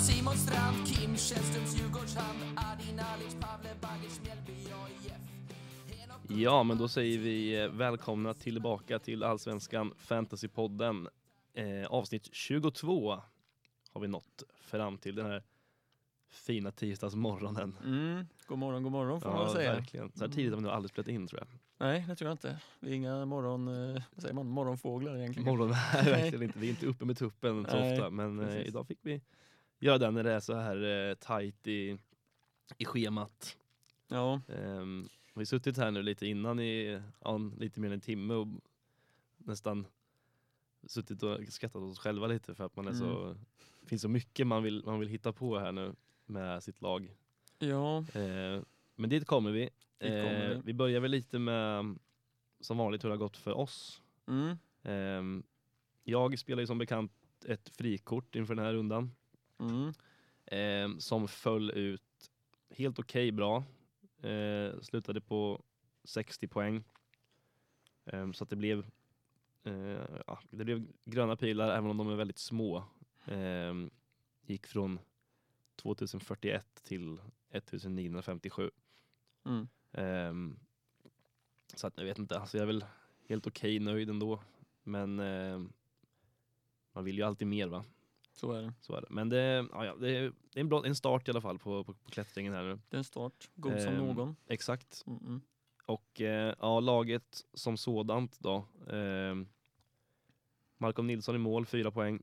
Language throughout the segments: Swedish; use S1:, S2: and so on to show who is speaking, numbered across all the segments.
S1: Simon Strand, Kim Källströms Djurgårdshamn, Adin Alic, Pavle Bagic, Mjällby, AIF.
S2: Ja, men då säger vi eh, välkomna tillbaka till Allsvenskan Fantasypodden. Eh, avsnitt 22 har vi nått fram till den här fina tisdagsmorgonen.
S3: Mm. God morgon, god morgon får man
S2: Ja,
S3: väl säga. Mm.
S2: verkligen. Så här tidigt har vi nog aldrig spelat in tror jag.
S3: Nej, det tror jag inte. Vi är inga morgon, eh, vad säger man, morgonfåglar egentligen.
S2: Morgon är verkligen inte, vi är inte uppe med tuppen så
S3: Nej,
S2: ofta, men eh,
S3: precis.
S2: idag fick vi göra den när det är så här eh, tajt i, i schemat.
S3: ja,
S2: Ehm, vi har suttit här nu lite innan i ja, en- lite mer än en timme och nästan suttit och skrattat åt oss själva lite för att man är
S3: Mm.
S2: så, det finns så mycket man vill, man vill hitta på här nu med sitt lag.
S3: ja,
S2: Eh, men dit kommer vi.
S3: kommer
S2: Eh,
S3: vi.
S2: vi börjar väl lite med som vanligt hur det har gått för oss.
S3: mm.
S2: Ehm, jag spelar ju som bekant ett frikort inför den här rundan
S3: Mm.
S2: eh, som föll ut helt okej bra. Eh, slutade på 60 poäng. Eh, så att det blev, eh, ja, det blev gröna pilar även om de är väldigt små. Eh, gick från 2041 till 1957.
S3: Mm.
S2: Ehm, så att jag vet inte, alltså jag är väl helt okej nöjd ändå. Men ehm, man vill ju alltid mer va?
S3: Så är det.
S2: Så är det. Men det, ja, ja, det, är- det är en, bra, en start i alla fall på, på, på klättringen här nu.
S3: Det är en start, god som
S2: Ehm.
S3: någon.
S2: Exakt.
S3: Mm, mm.
S2: Och eh, ja, laget som sådant då. ehm, Malcolm Nilsson i mål, fyra poäng.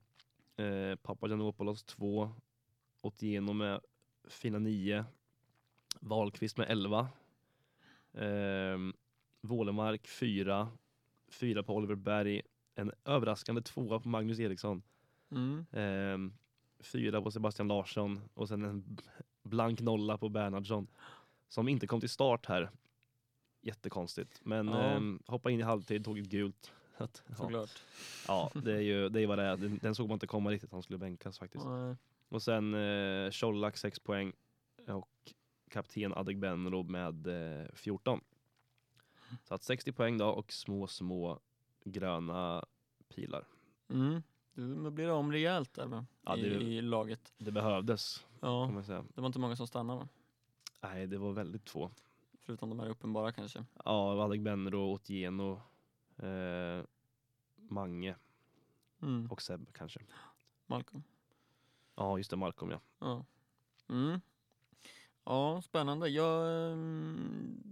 S2: Eh, Papagiannopoulos två. Otieno med fina nio. Wahlqvist med elva. Ehm, Wålemark fyra. Fyra på Oliver Berg. En överraskande tvåa på Magnus Eriksson.
S3: Mm.
S2: Ehm, fyra på Sebastian Larsson och sen en blank nolla på Bernhardsson. Som inte kom till start här. Jättekonstigt. Men
S3: Ja.
S2: ehm, hoppa in i halvtid, tog ett gult. Att, ja,
S3: Såklart.
S2: ja, det är ju det är vad det är. Den, den såg man inte komma riktigt, han skulle bänkas faktiskt.
S3: Nej.
S2: Och sen eh, Colak 6 poäng och kapten Adegbenro med eh, 14. Så att 60 poäng då och små, små gröna pilar.
S3: Mm. Du möblerar om rejält där va?
S2: Ja, det-
S3: I, I laget.
S2: Det behövdes, kan
S3: Ja,
S2: man säga.
S3: det var inte många som stannade va?
S2: Nej, det var väldigt få.
S3: Förutom de här uppenbara kanske.
S2: Ja, Adegbenro, Otieno, eh, Mange
S3: Mm.
S2: och Seb kanske.
S3: Malcolm.
S2: Ja, just det, Malcolm ja.
S3: Ja. Mm. Ja, spännande. Jag ehm,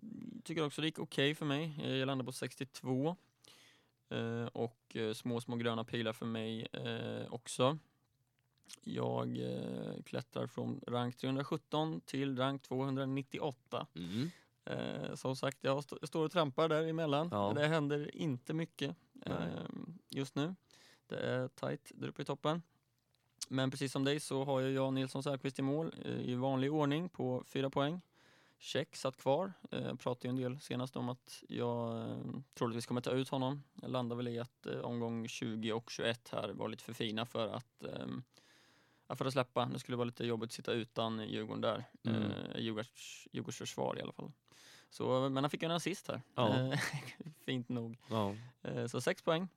S3: tycker också det gick okej för mig. Eh, Jag landade på 62. Eh, och eh, små, små gröna pilar för mig eh, också. Jag eh, klättrar från rank 317 till rank 298.
S2: Mm.
S3: Eh, som sagt, jag, st- jag står och trampar däremellan.
S2: Ja.
S3: Det händer inte mycket
S2: Nej.
S3: eh, just nu. Det är tajt där uppe i toppen. Men precis som dig så har jag Jan Nilsson Säfqvist i mål eh, i vanlig ordning på fyra poäng. Check satt kvar. Eh, Jag pratade ju en del senast om att jag eh, troligtvis kommer ta ut honom. Jag landar väl i att eh, omgång 20 och 21 här var lite för fina för att ehm, ja, för att släppa. Det skulle vara lite jobbigt att sitta utan Djurgården där.
S2: Mm.
S3: Eh, Djurgårds, Djurgårds försvar i alla fall. Så, men han fick ju en assist här.
S2: Ja.
S3: Eh, Fint nog.
S2: Ja.
S3: Eh, Så 6 poäng.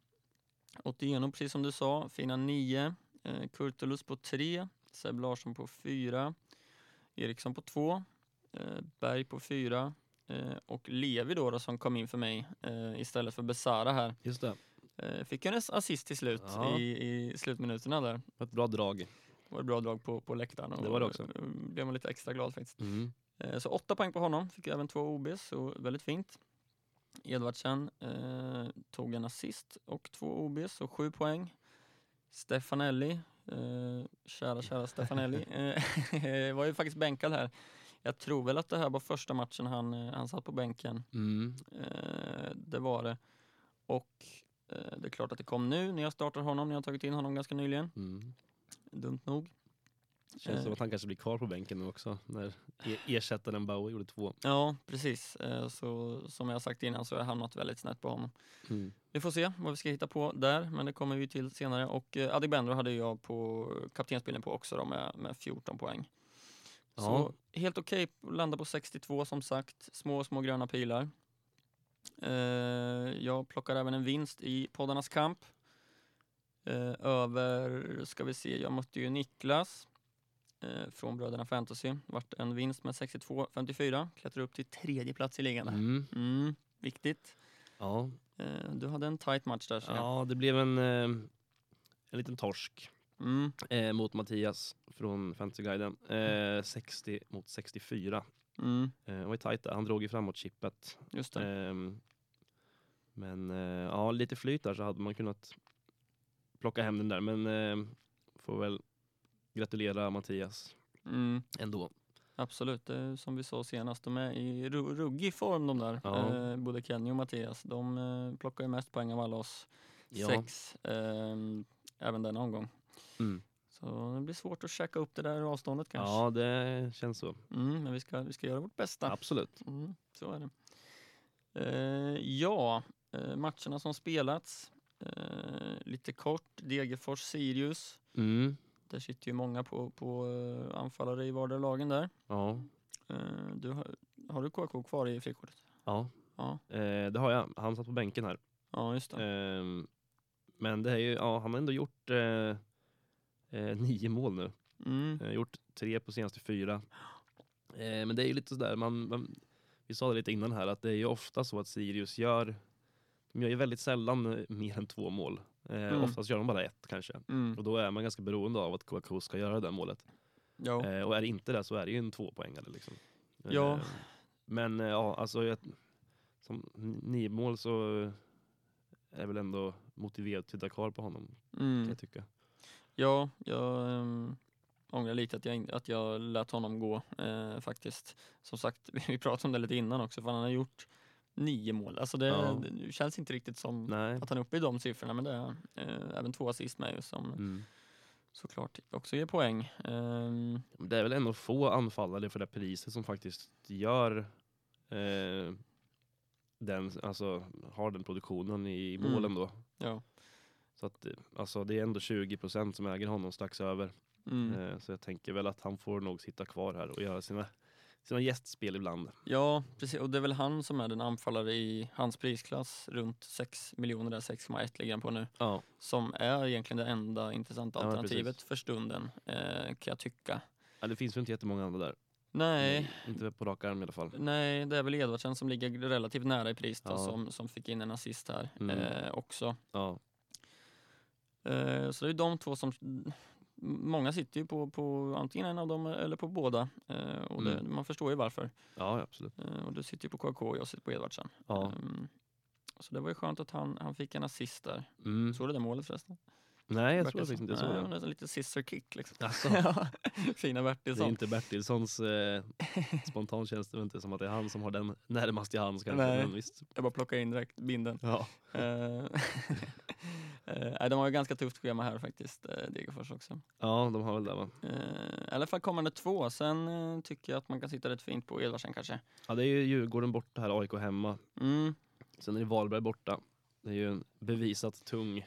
S3: Otieno, precis som du sa, fina 9. Eh, Kurtulus på 3. Seb Larsson på 4. Eriksson på 2. Eh, Berg på 4. Eh, och Levi då, då som kom in för mig eh, istället för Besara här.
S2: Just det,
S3: Eh, fick en assist till slut
S2: Ja.
S3: i, i slutminuterna där.
S2: ett bra drag.
S3: Det var ett bra drag på, på läktaren. Och,
S2: Det var det också.
S3: eh, blev man lite extra glad faktiskt.
S2: Mm.
S3: Eh, Så åtta poäng på honom, fick även två OBs, så väldigt fint. Edvardsen eh, tog en assist och två OBs, så sju poäng. Stefanelli, eh, kära kära Stefanelli, eh, var ju faktiskt bänkad här. Jag tror väl att det här var första matchen han, eh, han satt på bänken.
S2: Mm.
S3: Eh, det var det. Och eh, det är klart att det kom nu när jag startar honom, när jag har tagit in honom ganska nyligen. Dumt nog.
S2: Mm. Känns
S3: Eh.
S2: som att han kanske blir kvar på bänken nu också när e- ersättaren Bauer gjorde två.
S3: Ja, precis. Eh, så som jag sagt innan så har jag hamnat väldigt snett på honom.
S2: Mm.
S3: Vi får se vad vi ska hitta på där, men det kommer vi till senare. Och eh, Adegbenro hade jag på kaptensbilden på också då med, med 14 poäng. Så helt okej, landar på 62 som sagt. Små, små gröna pilar. Eh, jag plockar även en vinst i poddarnas kamp. Eh, över, ska vi se, jag mötte ju Niklas. eh, från bröderna Fantasy. Vart en vinst med 62-54. Klättrar upp till tredje plats i ligan. där.
S2: Mm.
S3: Mm, viktigt.
S2: Ja.
S3: Eh, du hade en tight match där. ser jag.
S2: ja, det blev en, eh, en liten torsk
S3: Mm,
S2: eh, mot Mattias från Fantasyguiden. Eh, 60 mot 64.
S3: mm,
S2: Eh, det var ju tajt där. Han drog ju framåt chippet.
S3: just det.
S2: Ehm, men eh, ja, lite flyt där så hade man kunnat plocka hem den där. Men eh, får väl gratulera Mattias
S3: Mm,
S2: ändå.
S3: absolut, det är som vi sa senast, de är i ru- ruggig form de där.
S2: Ja.
S3: Eh, både Kenny och Mattias. De eh, plockar ju mest poäng av alla oss.
S2: Ja.
S3: Sex, ehm, även denna omgång.
S2: Mm.
S3: Så det blir svårt att checka upp det där avståndet kanske.
S2: Ja, det känns så.
S3: Mm, men vi ska, vi ska göra vårt bästa.
S2: Absolut.
S3: Mm, så är det. Eh, ja, eh, matcherna som spelats. Eh, lite kort, Degerfors-Sirius.
S2: Mm.
S3: Där sitter ju många på, på eh, anfallare i vardera lagen där.
S2: Ja.
S3: Eh, du, har- har du KK kvar i frikortet?
S2: ja.
S3: Ja.
S2: Eh, det har jag. Han satt på bänken här.
S3: Ja, just det.
S2: Ehm, men det är ju, ja, han har ändå gjort eh, eh, nio mål nu.
S3: Mm,
S2: Eh, gjort tre på senaste fyra. Eh, men det är ju lite sådär, man, man, vi sa det lite innan här, att det är ju ofta så att Sirius gör, de gör ju väldigt sällan eh, mer än två mål. Eh,
S3: Mm.
S2: Oftast gör de bara ett kanske.
S3: mm.
S2: Och då är man ganska beroende av att Kouakou ska göra det där målet.
S3: Ja.
S2: Eh, och är det inte det så är det ju en tvåpoängare. Liksom. Eh,
S3: Ja.
S2: Men eh, ja, alltså jag, som n- nio mål så är väl ändå motiverat att titta kvar på honom, kan
S3: Mm.
S2: jag tycka.
S3: Ja, jag um, ångrar lite att jag, in- att jag lät honom gå eh, faktiskt. Som sagt, vi pratade om det lite innan också, för han har gjort nio mål. Alltså det,
S2: Ja.
S3: det känns inte riktigt som
S2: Nej.
S3: att han är uppe i de siffrorna, men det är han. eh, Även två assist med ju, som
S2: Mm.
S3: såklart också ger poäng. Ehm,
S2: Men Det är väl ändå få anfallare för det här priset som faktiskt gör eh, den, alltså har den produktionen i
S3: Mm.
S2: målen då.
S3: ja.
S2: Så att eh, alltså det är ändå 20% som äger honom strax över.
S3: Mm.
S2: Eh, så jag tänker väl att han får nog sitta kvar här och göra sina, sina gästspel ibland.
S3: ja, precis. Och det är väl han som är den anfallare i hans prisklass, runt 6 miljoner, där 6,1 ligger han på nu.
S2: Ja.
S3: Som är egentligen det enda intressanta
S2: Ja, men
S3: alternativet
S2: precis.
S3: för stunden, eh, kan jag tycka.
S2: ja det finns ju inte jättemånga andra där. Mm,
S3: Nej,
S2: Inte på rak arm i alla fall.
S3: Nej, det är väl Edvardsen som ligger relativt nära i pris då,
S2: Ja.
S3: som, som fick in en assist här
S2: Mm.
S3: eh, också.
S2: Ja.
S3: Eh, så det är ju de två som... Många sitter ju på, på antingen en av dem eller på båda. Eh, och det,
S2: Mm.
S3: Man förstår ju varför.
S2: ja, absolut.
S3: Eh, och du sitter ju på KK och jag sitter på Edvardsen.
S2: Ja.
S3: Ehm, så det var ju skönt att han, han fick en assist där.
S2: Mm.
S3: Såg du det målet förresten?
S2: Nej, jag
S3: Verkar
S2: tror faktiskt
S3: som-
S2: inte jag såg
S3: Nej,
S2: det.
S3: men är en liten sister kick liksom.
S2: Alltså,
S3: Fina
S2: det är
S3: Bertilsson.
S2: inte Bertilssons eh, spontan känns det väl inte som att det är han som har den närmast till hands kanske.
S3: Nej.
S2: Men visst.
S3: Jag bara plockar in direkt binden.
S2: Ja.
S3: Eh, eh, nej, de har ju ganska tufft schema här faktiskt, eh, Degerfors också.
S2: Ja, de har väl det va?
S3: Eh, I alla fall kommande två, sen eh, tycker jag att man kan sitta rätt fint på Edvardsen kanske.
S2: Ja, det är ju Djurgården borta här, AIK hemma.
S3: Mm.
S2: Sen är det Varberg borta. Det är ju en bevisat tung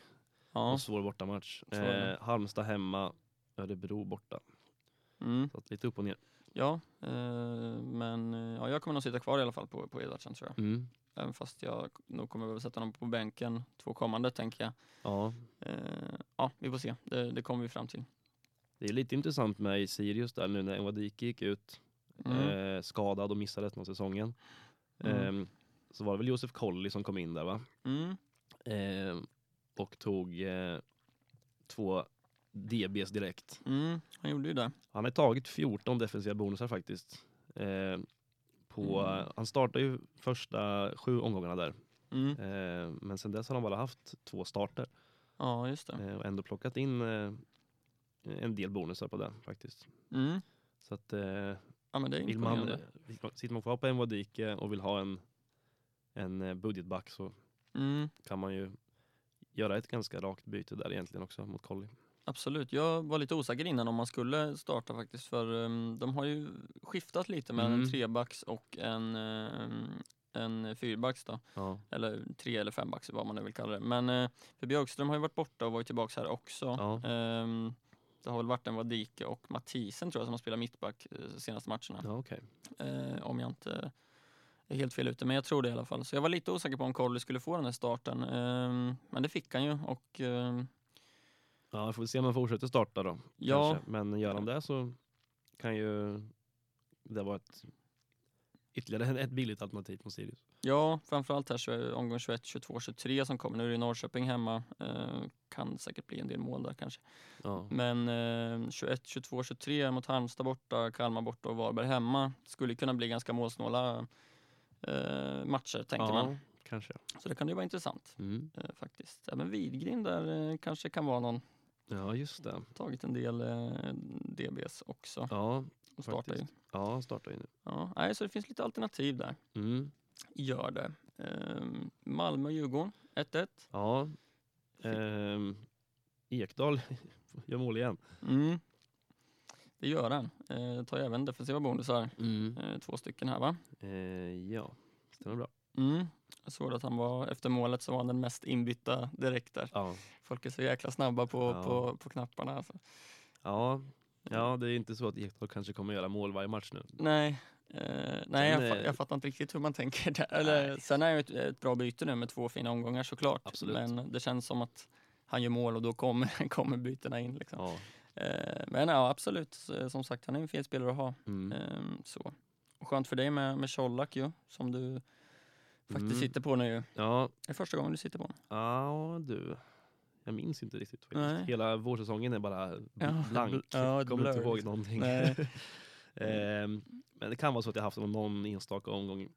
S3: Ja.
S2: och svår bortamatch.
S3: Så är det.
S2: Eh, Halmstad hemma, Örebro borta.
S3: Mm.
S2: Så att lite upp och ner.
S3: ja, eh, men eh, ja, jag kommer nog sitta kvar i alla fall på, på Edvardsen tror jag.
S2: Mm.
S3: Även fast jag k- nog kommer behöva sätta någon på bänken två kommande tänker jag.
S2: Ja,
S3: Eh, ja, vi får se. Det, det kommer vi fram till.
S2: det är lite intressant med i Sirius där nu när Wadiki gick ut
S3: Mm.
S2: eh, skadad och missade resten av säsongen.
S3: Mm.
S2: Ehm, så var det väl Josef Colley som kom in där va?
S3: Mm.
S2: Ehm, och tog eh, två DBs direkt.
S3: Mm. Han gjorde ju det.
S2: Han har tagit 14 defensiva bonusar faktiskt. Eh, på,
S3: Mm.
S2: Han startade ju första sju omgångarna där.
S3: Mm.
S2: Eh, men sen dess har han bara haft två starter
S3: Ja, just det.
S2: eh, och ändå plockat in eh, en del bonusar på det faktiskt.
S3: Mm.
S2: Så att eh,
S3: Ja, men det är
S2: vill man,
S3: imponerande.
S2: vill man- sitter man kvar på en Wadike och vill ha en, en eh, budgetback så
S3: Mm.
S2: kan man ju göra ett ganska rakt byte där egentligen också mot Colley.
S3: Absolut, jag var lite osäker innan om man skulle starta faktiskt för ehm, de har ju skiftat lite mellan en
S2: Mm.
S3: trebacks och en, ehm, en fyrbacks då,
S2: Ja.
S3: eller tre eller fembacks vad man nu vill kalla det. Men eh, för Björkström har ju varit borta och varit tillbaka här också.
S2: Ja.
S3: Ehm, det har väl varit en Wadike och Mathisen tror jag som har spelat mittback eh, de senaste matcherna.
S2: Ja, okej.
S3: Eh, om jag inte är helt fel ute, men jag tror det i alla fall. Så jag var lite osäker på om Colley skulle få den här starten, ehm, men det fick han ju och ehm,
S2: Ja, vi får se om han fortsätter starta då.
S3: ja,
S2: kanske. Men gör han det så kan ju det vara ett ytterligare ett billigt alternativ från Sirius.
S3: Ja, framförallt här så är det omgång 21, 22, 23 som kommer. Nu är det Norrköping hemma. Eh, kan säkert bli en del mål där kanske.
S2: Ja.
S3: Men eh, 21, 22, 23 mot Halmstad borta, Kalmar borta och Varberg hemma. Skulle kunna bli ganska målsnåla eh, matcher tänker
S2: ja,
S3: man.
S2: kanske.
S3: Så det kan ju vara intressant
S2: Mm.
S3: eh, faktiskt. Även Widgren där eh, kanske kan vara någon.
S2: Ja, just det.
S3: Tagit en del eh, DBs också.
S2: Ja,
S3: Och startar ju.
S2: faktiskt. ja startar ju nu.
S3: Ja, nej, så det finns lite alternativ där.
S2: Mm.
S3: Gör det. Ehm, Malmö och Djurgården 1-1.
S2: Ja. Ehm, Ekdal gör mål igen.
S3: Mm. Det gör han. Eh, tar ju även defensiva bonusar.
S2: Mm.
S3: Eh, två stycken här va?
S2: Eh, ja, stämmer bra.
S3: Mm. Jag såg att han var, efter målet så var han den mest inbytta direkt där.
S2: Ja.
S3: Folk är så jäkla snabba på,
S2: Ja.
S3: på, på knapparna. Alltså.
S2: Ja. ja, det är inte så att Ekdal kanske kommer göra mål varje match nu.
S3: Nej, eh, nej jag,
S2: Sen,
S3: fa-
S2: eh,
S3: jag fattar inte riktigt hur man tänker där. Eller, sen är han ju ett, ett bra byte nu med två fina omgångar såklart.
S2: Absolut.
S3: Men det känns som att han gör mål och då kommer, kommer bytena in. Liksom.
S2: Ja.
S3: Eh, men ja, absolut. S- eh, Som sagt, han är en fet spelare att ha.
S2: Mm.
S3: Ehm, så. Och skönt för dig med, med Colak ju, som du faktiskt
S2: Mm.
S3: sitter på nu. ju.
S2: Ja,
S3: Det är första gången du sitter på honom.
S2: ja, du. Jag minns inte riktigt faktiskt.
S3: Nej.
S2: Hela vårsäsongen är bara b-
S3: Ja, bl-
S2: blank.
S3: ja, ett
S2: kommer inte
S3: blur,
S2: ihåg
S3: liksom.
S2: någonting.
S3: Nej.
S2: Ehm, men det kan vara så att jag haft honom någon enstaka omgång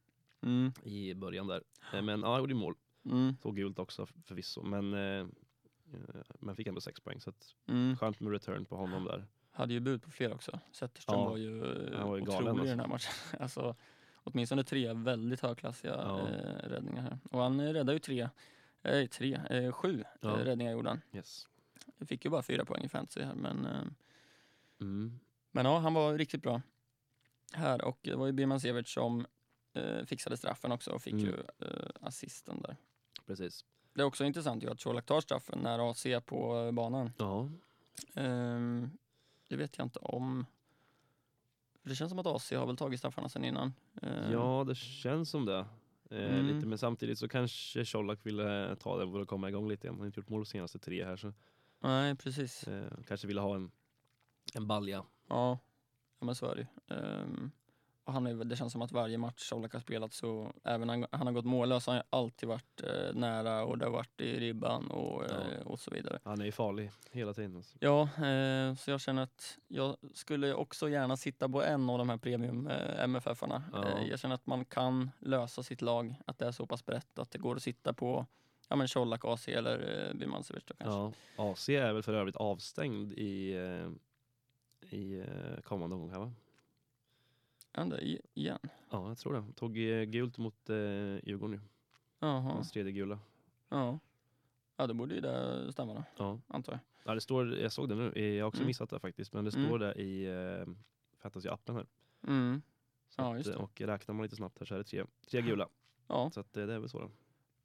S3: Mm.
S2: i början där. Eh, Men ja, jag gjorde ju mål.
S3: Mm.
S2: Såg gult också förvisso. Men, eh, eh, men fick ändå sex poäng. Så att
S3: Mm.
S2: Skönt med return på honom där.
S3: Hade ju bud på fler också. Zetterström
S2: Ja,
S3: var ju eh,
S2: han var ju
S3: otrolig
S2: galen
S3: i
S2: alltså.
S3: den här matchen. Alltså, åtminstone tre väldigt högklassiga
S2: Ja.
S3: eh, räddningar här. Och han eh, räddade ju tre, eh, tre eh, sju
S2: Ja.
S3: eh, räddningar gjorde han.
S2: Yes.
S3: Vi fick ju bara fyra poäng i fantasy här men, eh,
S2: Mm.
S3: men ja, han var riktigt bra här och det var ju Birman Severt som eh, fixade straffen också och fick
S2: Mm.
S3: ju eh, assisten där.
S2: Precis.
S3: Det är också intressant ju att Colak tar straffen när AC är på eh, banan.
S2: Ja.
S3: Ehm, det vet jag inte om. För Det känns som att AC har väl tagit straffarna sen innan. Ehm,
S2: ja, det känns som det. Eh,
S3: Mm.
S2: lite, men samtidigt så kanske Colak ville ta den för att komma igång lite igen. Han har inte gjort mål de senaste tre här så
S3: Nej, precis.
S2: eh, kanske ville ha en, en balja.
S3: Ja, ja men så är det ju. Ehm, och han är, väl- det känns som att varje match Colak har spelat så, även han, han har gått mållös, han har alltid varit eh, nära och det har varit i ribban och, eh, och så vidare.
S2: Han är ju farlig hela tiden. Alltså.
S3: Ja, eh, så jag känner att jag skulle också gärna sitta på en av de här premium eh, MFF-arna.
S2: Ja.
S3: Eh, jag känner att man kan lösa sitt lag, att det är så pass brett att det går att sitta på ja men Colak, AC eller eh, Birmancevic då kanske.
S2: Ja. AC är väl för övrigt avstängd i, eh, i eh, kommande omgång här va?
S3: Ändå, i- igen.
S2: Ja, jag tror det. Tog eh, gult mot eh, Djurgården nu.
S3: Jaha.
S2: Hans tredje gula.
S3: Ja. ja, det borde ju det stämma då,
S2: Ja.
S3: antar jag.
S2: Ja, det står, jag såg det nu, Eh, jag har också
S3: Mm.
S2: missat det faktiskt, men det står
S3: Mm.
S2: det i eh, fantasy-appen här.
S3: Mm.
S2: Så
S3: Ja,
S2: att, eh,
S3: just det.
S2: Och räknar man lite snabbt här så är det tre, tre gula.
S3: Ja,
S2: Så att eh, det är väl så då.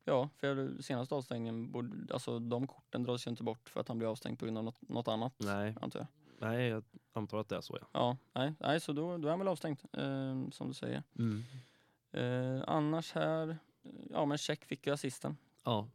S3: ja, för senaste avstängningen, borde, alltså de korten dras ju inte bort för att han blir avstängd på grund av något, något annat.
S2: Nej,
S3: Antar jag.
S2: nej jag antar att det är så ja.
S3: Ja, nej, nej så då, då är han väl avstängd, eh, som du säger.
S2: Mm.
S3: Eh, annars här, eh, ja men check fick ju assisten.
S2: Ja,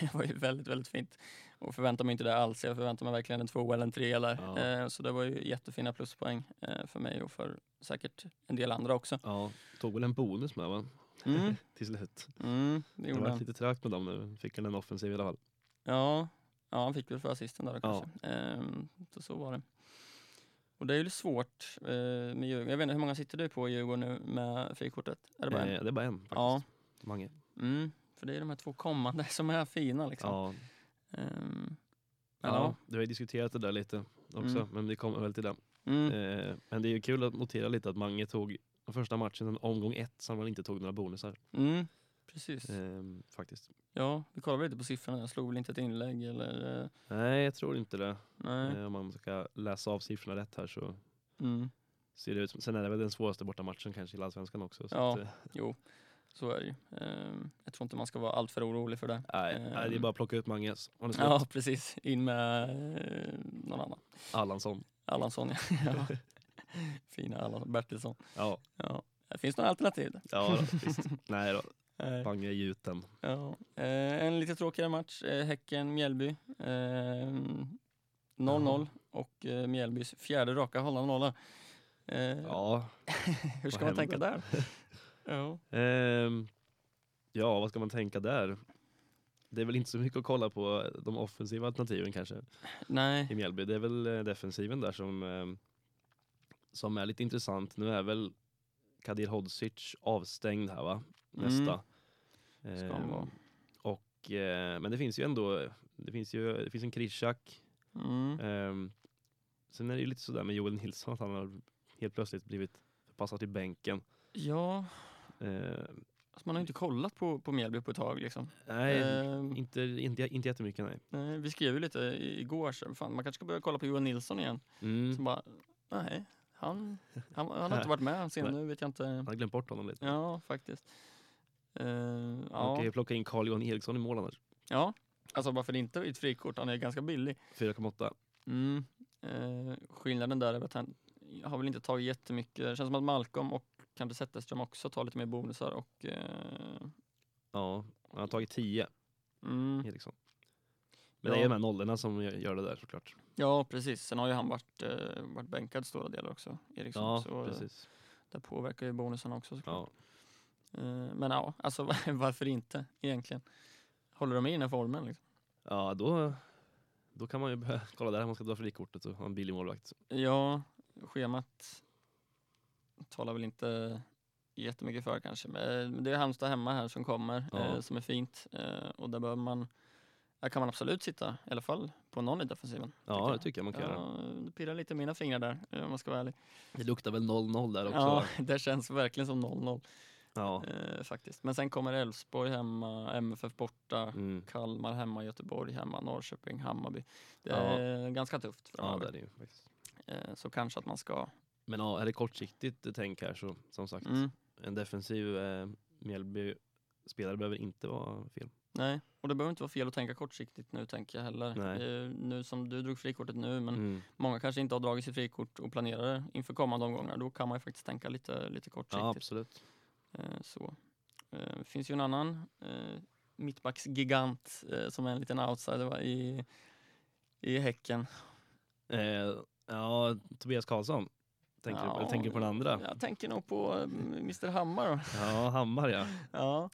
S3: Det var ju väldigt, väldigt fint. Och förväntar mig inte det alls. Jag förväntar mig verkligen en tvåa eller en trea där.
S2: Ja.
S3: Eh, så det var ju jättefina pluspoäng eh, för mig och för säkert en del andra också.
S2: ja. Tog väl en bonus med va?
S3: Mm,
S2: Till slut.
S3: mm,
S2: Det
S3: det
S2: har
S3: gjorde
S2: varit
S3: han.
S2: lite trögt med dem nu. Fick han en offensiv i alla fall.
S3: Ja, ja, han fick väl för assisten där då
S2: Ja.
S3: kanske. Eh, så, så var det. Och det är ju lite svårt eh, med Djurgården. Jag vet inte, hur många sitter du på i Djurgården nu med frikortet? Är det bara en?
S2: Eh, det är bara en faktiskt.
S3: Ja.
S2: Mange.
S3: Mm, för det är de här två kommande som är fina liksom.
S2: Ja.
S3: Ehm, men ja.
S2: Ja. Du har ju diskuterat det där lite också,
S3: Mm.
S2: men vi kommer väl till det.
S3: Mm.
S2: Eh, men det är ju kul att notera lite att Mange tog den första matchen, en omgång ett, som han inte tog några bonusar.
S3: Mm, precis.
S2: Eh, faktiskt.
S3: Ja, vi kollade lite på siffrorna. Jag slog väl inte ett inlägg eller... eh,
S2: Nej, jag tror inte det.
S3: Nej.
S2: Eh, om man ska läsa av siffrorna rätt här så
S3: Mm.
S2: ser det ut som. Sen är det väl den svåraste bortamatchen kanske i Allsvenskan också. Så
S3: Ja.
S2: att, eh,
S3: Jo, så är det ju. Ehm, Jag tror inte man ska vara alltför orolig för det.
S2: nej,
S3: Ehm.
S2: nej, det är bara att plocka ut Manges. Han är slut.
S3: Ja, precis. In med eh, någon annan.
S2: Allansson.
S3: Allansson, ja. ja. Fina Allansson. Bertilsson.
S2: Ja,
S3: Ja. Det finns några alternativ där.
S2: ja då, visst. Nej då,
S3: Nej.
S2: Mange är gjuten.
S3: Ja. Eh, En lite tråkigare match. eh, Häcken-Mjällby. Ehm, 0-0 och eh, Mjällbys fjärde raka hållande nolla. Eh,
S2: Ja.
S3: hur ska
S2: vad
S3: man tänka där? ja.
S2: Ehm, ja, vad ska man tänka där? Det är väl inte så mycket att kolla på de offensiva alternativen kanske
S3: Nej,
S2: i Mjällby. Det är väl eh, defensiven där som, ehm, som är lite intressant. Nu är väl Kadir Hodzic avstängd här va? Nästa.
S3: Mm. ska han
S2: Ehm,
S3: vara.
S2: och, eh, men det finns ju ändå, det finns ju det finns en Krishak.
S3: Mm.
S2: Ehm, sen är det ju lite sådär med Joel Nilsson att han har helt plötsligt blivit förpassad till bänken.
S3: Ja,
S2: Ehm,
S3: alltså man har ju inte kollat på, på Mjällby på ett tag liksom.
S2: nej,
S3: Eh,
S2: inte, inte, inte jättemycket nej.
S3: nej, vi skrev ju lite i- igår, så fan, man kanske ska börja kolla på Johan Nilsson igen.
S2: Mm.
S3: Så bara, nej, han, han, han har inte varit med sen,
S2: Nej.
S3: nu vet jag inte.
S2: Han har glömt bort honom lite.
S3: Ja, faktiskt. Eh,
S2: Man
S3: ja.
S2: kan ju plocka in Carl Johan Eriksson i mål annars.
S3: ja, alltså varför inte i ett frikort? Han är ganska billig.
S2: 4,8.
S3: Mm. Eh, skillnaden där är att han har väl inte tagit jättemycket. Det känns som att Malcolm och kanske Zetterström också tar lite mer bonusar och eh,
S2: Ja, han har tagit 10,
S3: mm,
S2: Eriksson. Men det är
S3: Ja.
S2: de här nollorna som gör- gör det där såklart.
S3: Ja, precis. Sen har ju han varit, eh, varit bänkad stora delar också, Eriksson.
S2: Ja,
S3: så eh,
S2: precis.
S3: där påverkar ju bonusarna också såklart.
S2: Ja.
S3: Eh, men ja, alltså varför inte egentligen? Håller de i den här formen? Liksom?
S2: Ja, då, då kan man ju börja kolla där om man ska dra frikortet och ha en billig målvakt.
S3: Ja, schemat talar väl inte jättemycket för kanske. Men eh, det är Halmstad hemma här som kommer,
S2: Ja.
S3: eh, som är fint. Eh, och där behöver man, där kan man absolut sitta, i alla fall på någon i defensiven.
S2: Ja, det tycker jag man kan göra.
S3: Ja, det pirrar lite i mina fingrar där, eh, om man ska vara ärlig.
S2: Det luktar väl 0-0 där också?
S3: Ja,
S2: va?
S3: det känns verkligen som 0-0.
S2: ja.
S3: Eh, faktiskt. Men sen kommer Elfsborg hemma, MFF borta,
S2: Mm.
S3: Kalmar hemma, Göteborg hemma, Norrköping, Hammarby. Det
S2: Ja.
S3: är ganska tufft
S2: ja, det
S3: framöver.
S2: är det ju faktiskt.
S3: eh, så kanske att man ska...
S2: Men ja, är det kortsiktigt tänk här så som sagt,
S3: Mm,
S2: en defensiv eh, Mjällby-spelare behöver inte vara fel.
S3: nej, och det behöver inte vara fel att tänka kortsiktigt nu tänker jag heller.
S2: Nej.
S3: Eh, nu som du drog frikortet nu, men
S2: Mm.
S3: många kanske inte har dragit sitt frikort och planerar det inför kommande omgångar. Då kan man ju faktiskt tänka lite, lite
S2: Ja,
S3: kortsiktigt.
S2: absolut.
S3: Eh, så. Eh, finns ju en annan eh, mittbacksgigant eh, som är en liten outsider va, i, i Häcken.
S2: Eh, ja, Tobias Karlsson. Tänker, du-
S3: Ja,
S2: eller tänker du på den andra?
S3: Jag tänker nog på eh, Mr Hammar då.
S2: Ja, Hammar ja.
S3: Ja.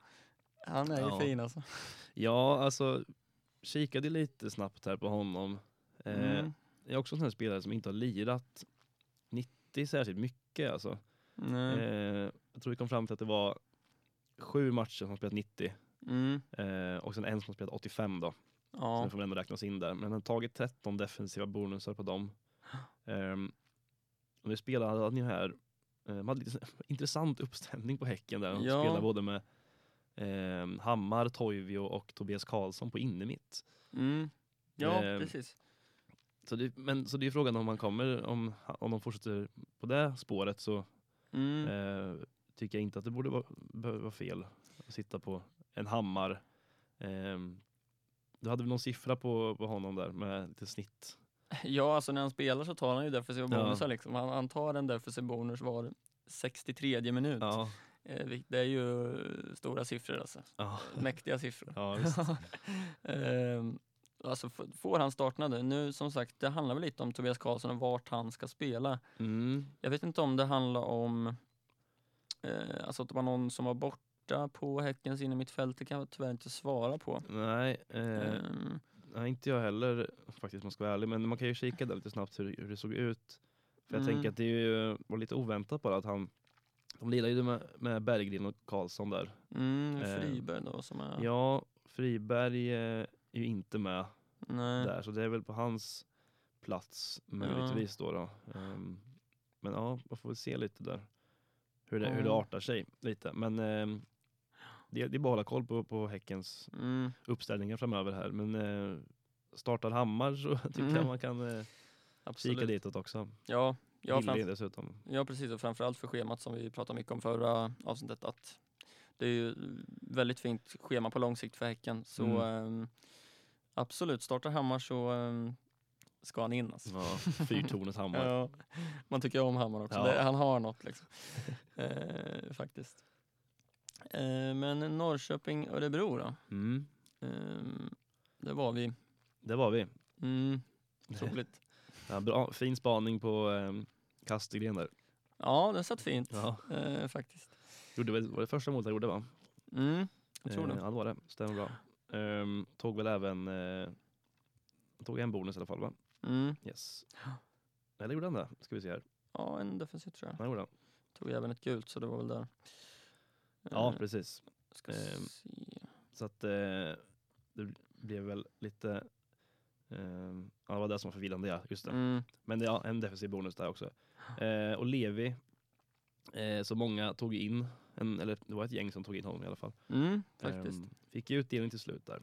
S3: Han är ju
S2: Ja.
S3: fin alltså.
S2: Ja, alltså kikade lite snabbt här på honom. Eh,
S3: Mm.
S2: Jag är också en sån här spelare som inte har lirat 90 särskilt mycket alltså.
S3: Nej.
S2: Eh, jag tror vi kom fram till att det var sju matcher som har spelat 90
S3: Mm.
S2: eh, och sen en som har spelat 85 då. Så
S3: Ja.
S2: det får väl ändå räknas in där. Men han har tagit 13 defensiva bonusar på dem. Ehm, och nu spelade han ju här, eh, man hade lite sån- intressant uppställning på Häcken där. De
S3: Ja.
S2: spelade både med ehm, Hammar, Toivio och Tobias Karlsson på innermitt.
S3: Mm. ja,
S2: Eh,
S3: precis.
S2: Så det, men så det är frågan om man kommer, om, om de fortsätter på det spåret så
S3: Mm.
S2: eh, tycker jag inte att det borde vara, behöva vara fel att sitta på en Hammar. Ehm, du hade väl någon siffra på, på honom där med lite snitt?
S3: Ja, alltså när han spelar så tar han ju defensiva
S2: Ja.
S3: bonusar liksom. Han, han tar en defensiv bonus var 63 minut.
S2: Ja.
S3: Eh, vilket- det är ju stora siffror alltså.
S2: Ja.
S3: Mäktiga siffror.
S2: Ja, visst.
S3: Ehm, alltså f- får han starta nu? Nu som sagt, det handlar väl lite om Tobias Karlsson och vart han ska spela.
S2: Mm.
S3: Jag vet inte om det handlar om eh, alltså att det var någon som var borta på Häckens inne i mitt fält. Det kan jag tyvärr inte svara på.
S2: Nej, eh,
S3: Ehm,
S2: nej, inte jag heller faktiskt om jag ska vara ärlig. Men man kan ju kika där lite snabbt hur, hur det såg ut. För jag
S3: Mm.
S2: tänker att det är ju, var lite oväntat bara att han, de lirar ju med, med Berggren och Karlsson där.
S3: mm,
S2: eh,
S3: Friberg då som är...
S2: Ja, Friberg eh, är ju inte med
S3: nej.
S2: där, så det är väl på hans plats möjligtvis då. då. Ehm, men ja, man får väl se lite där hur det, hur det
S3: Ja.
S2: artar sig lite. Men ehm, det, det är bara att hålla koll på, på Häckens
S3: Mm,
S2: uppställningar framöver här. Men eh, startar Hammar så tycker
S3: Mm.
S2: jag man kan eh, kika
S3: absolut.
S2: ditåt också.
S3: Ja, ja,
S2: Ja,
S3: framf-
S2: dessutom.
S3: ja, precis. Och framförallt för schemat som vi pratade mycket om förra avsnittet. Att det är ju väldigt fint schema på lång sikt för Häcken. Så
S2: Mm.
S3: ehm, absolut, startar Hammar så ehm, ska han in alltså.
S2: Ja, Fyrtornet Hammar.
S3: Ja, man tycker om Hammar också.
S2: Ja.
S3: Det, han har något liksom. eh, faktiskt. Eh, men Norrköping, Örebro då?
S2: Mm,
S3: Eh, det var vi.
S2: det var vi.
S3: Mm, troligt.
S2: Ja, bra, fin spaning på eh, Kastegren där.
S3: Ja, den satt fint
S2: Ja.
S3: eh, faktiskt.
S2: Gjorde, väl- var det första målet han gjorde va?
S3: Mm, jag tror
S2: eh,
S3: det.
S2: Ja det var det, stämmer bra. Ehm, tog väl även, eh, tog en bonus i alla fall va?
S3: Mm.
S2: Yes. Eller gjorde han det? Ska vi se här.
S3: Ja, en defensiv tror jag.
S2: Han gjorde han.
S3: Tog även ett gult så det var väl där.
S2: Ja
S3: Eh,
S2: precis.
S3: ska
S2: ehm.
S3: se.
S2: Så att eh, det blev väl lite, eh, ja det var det som var förvillande ja, just det.
S3: Mm.
S2: Men det- ja, en defensiv bonus där också. Eh, och Levi, eh, så många tog in, en, eller det var ett gäng som tog in honom i alla fall.
S3: Mm, faktiskt.
S2: Ehm, fick ju utdelning till slut där.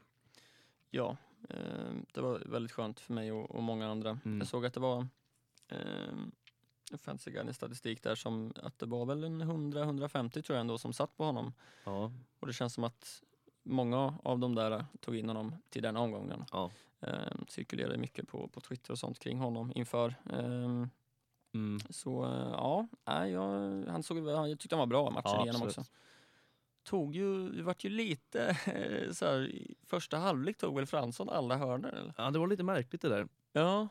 S3: Ja, ehm, det var väldigt skönt för mig och, och många andra.
S2: Mm.
S3: Jag såg att det var um, Fancy Guidance statistik där som att det var väl en 100-150 tror jag ändå som satt på honom.
S2: Ja,
S3: Och det känns som att många av de där tog in honom till den omgången.
S2: ja.
S3: Um, cirkulerade mycket på, på Twitter och sånt kring honom inför. Ehm,
S2: Mm.
S3: så eh, ja, nej, jag, han såg, jag tyckte han var bra matchen
S2: Ja,
S3: igenom
S2: absolut.
S3: också. Tog ju, det vart ju lite så här, i första halvlek tog väl Fransson alla hörnor eller?
S2: ja, det var lite märkligt det där.
S3: Ja,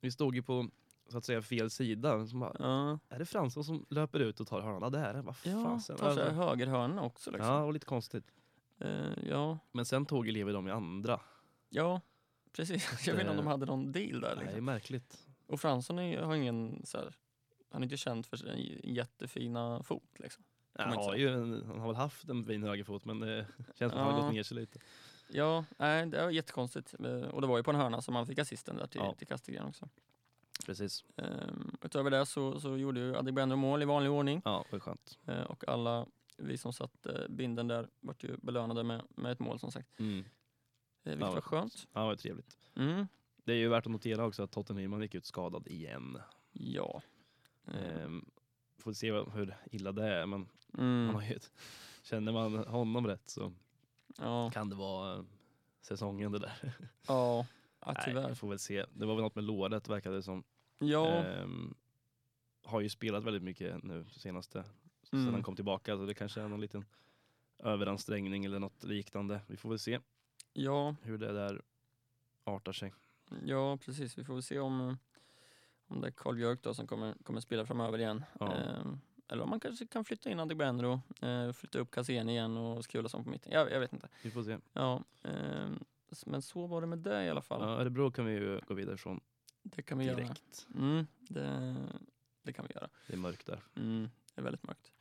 S2: Vi stod ju på så att säga fel sida. Så bara,
S3: ja.
S2: är det Fransson som löper ut och tar hörnan? Ja, det här är Vad
S3: ja
S2: fan sen?
S3: tar sig högerhörna också liksom.
S2: Ja, det var lite konstigt.
S3: Eh, ja,
S2: Men sen tog Levi dem i andra.
S3: ja, precis. Jag vet inte om de
S2: eh,
S3: hade någon deal där
S2: Det är
S3: liksom.
S2: märkligt.
S3: Och Fransson är, ju- har ingen så här, han är inte känd för sin j- jättefina fot liksom.
S2: Han
S3: man inte
S2: har,
S3: säga.
S2: ju en, han har väl haft en fin högerfot men det känns som att han har
S3: Ja.
S2: gått ner sig lite.
S3: Ja, nej, det var jättekonstigt. Eh, Och det var ju på en hörna som han fick assisten där till,
S2: Ja.
S3: till Kastegren också.
S2: Precis.
S3: Ehm, utöver det så, så gjorde ju Adegbenro mål i vanlig ordning
S2: Ja, det var skönt.
S3: eh, och alla vi som satt eh, binden där vart ju belönade med, med ett mål som sagt.
S2: Mm.
S3: Eh, vilket
S2: Ja,
S3: var
S2: vad
S3: skönt.
S2: Ja, det var trevligt.
S3: Mm.
S2: Det är ju värt att notera också att Totten Nyman gick ut skadad igen.
S3: Ja. Ehm,
S2: Ehm, får se vad- hur illa det är, men han
S3: Mm.
S2: har ju, ett- känner man honom rätt så
S3: Ja,
S2: kan det vara eh, säsongen det där.
S3: ja. ja
S2: Nej, vi
S3: tyvärr.
S2: får väl se. Det var väl något med låret verkade det som.
S3: Ja,
S2: Ehm, har ju spelat väldigt mycket nu senaste, sen
S3: Mm.
S2: han kom tillbaka, så det kanske är någon liten överansträngning eller något liknande. Vi får väl se
S3: ja,
S2: hur det där artar sig.
S3: ja, precis. Vi får väl se om, eh, om det är Carl Björk då som kommer, kommer spela framöver igen.
S2: Ja.
S3: Ehm, eller om man kanske kan flytta in Adegbenro, eh, flytta upp Cassini igen och Skulason på mitten. Jag, jag vet inte.
S2: Vi får se.
S3: Ja, ehm, s- men så var det med det i alla fall.
S2: Ja, Örebro kan vi ju gå vidare från
S3: Det kan vi göra.
S2: direkt.
S3: Mm, det, det kan vi göra.
S2: Det är mörkt där.
S3: Mm, det är väldigt mörkt.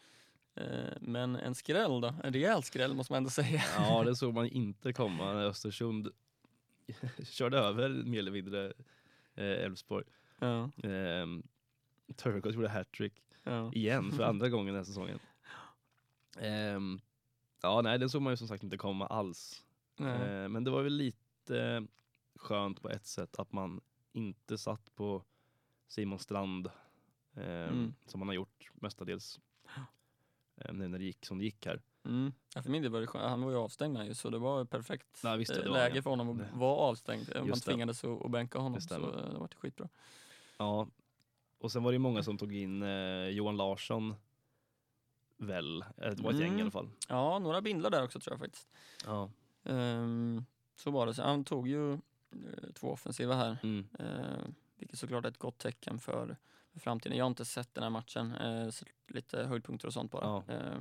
S3: Eh, men en skräll då? En rejäl skräll måste man ändå säga.
S2: Ja, det såg man inte komma när Östersund körde över mer eller mindre eh, Elfsborg.
S3: Ja,
S2: Eh, Turgos gjorde hattrick
S3: ja.
S2: igen för andra gången den här säsongen. Ehm, ja, nej, den såg man ju som sagt inte komma alls.
S3: Nej.
S2: Eh, men det var väl lite skönt på ett sätt att man inte satt på Simon Strand ehm,
S3: Mm.
S2: som man har gjort mestadels eh, nu när det gick som det gick här.
S3: Mm. Ja, för min del var det skönt. Han var ju avstängd här ju, så det var ju perfekt
S2: Ja, visst, det
S3: eh,
S2: var han,
S3: läge
S2: ja.
S3: för honom
S2: Det-
S3: att vara avstängd. Eh, Man
S2: Just det.
S3: tvingades att att bänka honom,
S2: Det
S3: så
S2: stämmer.
S3: eh, det var ju skitbra.
S2: Ja, och sen var det ju många som tog in eh, Johan Larsson, väl? Eh, Det var ett gäng i
S3: Mm.
S2: alla fall.
S3: Ja, några bindlar där också tror jag faktiskt.
S2: Ja.
S3: Ehm, så var det. Så han tog ju eh, två offensiva här.
S2: Mm.
S3: Eh, vilket såklart är ett gott tecken för, för framtiden. Jag har inte sett den här matchen, eh, så lite höjdpunkter och sånt bara.
S2: Ja.
S3: Eh,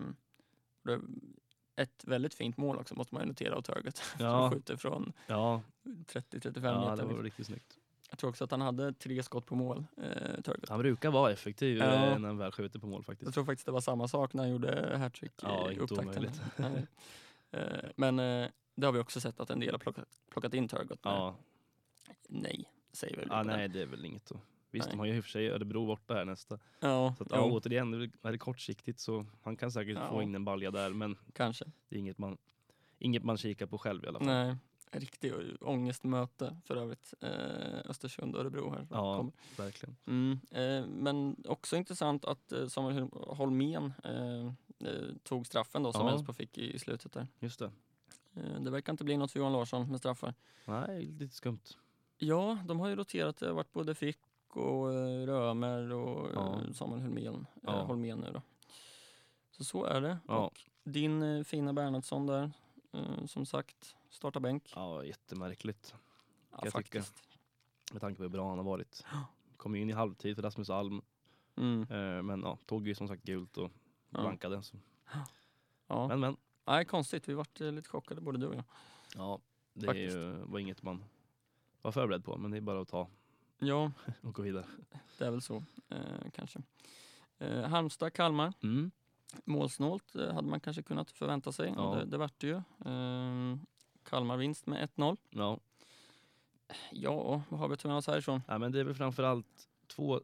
S3: det är ett väldigt fint mål också måste man ju notera av Turgut.
S2: Ja.
S3: Han skjuter från
S2: Ja,
S3: 30-35
S2: ja, det
S3: meter.
S2: var
S3: Liksom.
S2: riktigt snyggt.
S3: Jag tror också att han hade tre skott på mål, eh, Turgut.
S2: Han brukar vara effektiv
S3: Ja.
S2: eh, när han väl skjuter på mål
S3: Jag
S2: faktiskt.
S3: tror faktiskt det var samma sak när han gjorde hattrick
S2: Ja,
S3: i
S2: inte
S3: upptakten.
S2: omöjligt.
S3: Nej. Eh, Men eh, det har vi också sett att en del har plockat, plockat in Turgut. Men
S2: Ja,
S3: Nej, säger väl vi
S2: ja
S3: på den.
S2: nej det är väl inget då. Visst,
S3: Nej.
S2: de har ju i och för sig Örebro borta här nästa.
S3: Ja,
S2: Så att, ja,
S3: jo,
S2: återigen, det är väl- är det kortsiktigt så han kan säkert
S3: Ja.
S2: få in en balja där, men
S3: kanske.
S2: det är inget man, inget man kikar på själv i alla fall.
S3: Nej, riktig å- ångestmöte för övrigt. Eh, Östersund och Örebro här.
S2: Ja.
S3: Kommer.
S2: Verkligen.
S3: Mm, eh, men också intressant att eh, Samuel Holmén eh, eh, tog straffen då som
S2: Ja.
S3: Elfsborg fick i, i slutet där.
S2: Just det.
S3: Eh, det verkar inte bli något för Johan Larsson med straffar.
S2: Nej, lite skumt.
S3: Ja, de har ju roterat. Det har varit både Frick och eh, Römer och eh,
S2: Ja.
S3: Samuel Holmén,
S2: Ja.
S3: eh, Holmén nu då. Så så är det.
S2: Ja.
S3: Och din eh, fina Bernhardsson där, eh, som sagt, starta bänk.
S2: Ja, jättemärkligt.
S3: Ja,
S2: jag tycka.
S3: faktiskt.
S2: med tanke på hur bra han har varit. Kom ju in i halvtid för Rasmus Alm
S3: Mm.
S2: Eh, men ja, tog ju som sagt gult och
S3: Ja.
S2: blankade. Så.
S3: Ja.
S2: Men men.
S3: Nej, konstigt. Vi vart eh, lite chockade både du och jag.
S2: Ja, det är
S3: Faktiskt.
S2: ju, var inget man var förberedd på, men det är bara att ta
S3: Ja,
S2: och gå vidare.
S3: det är väl så eh, kanske. Eh, Halmstad, Kalmar.
S2: Mm.
S3: Målsnålt eh, hade man kanske kunnat förvänta sig.
S2: Ja.
S3: Och det, det vart det ju. Eh, Kalmar vinst med 1-0.
S2: Ja,
S3: Ja, vad har vi att ta med oss härifrån?
S2: ja, men det är väl framförallt två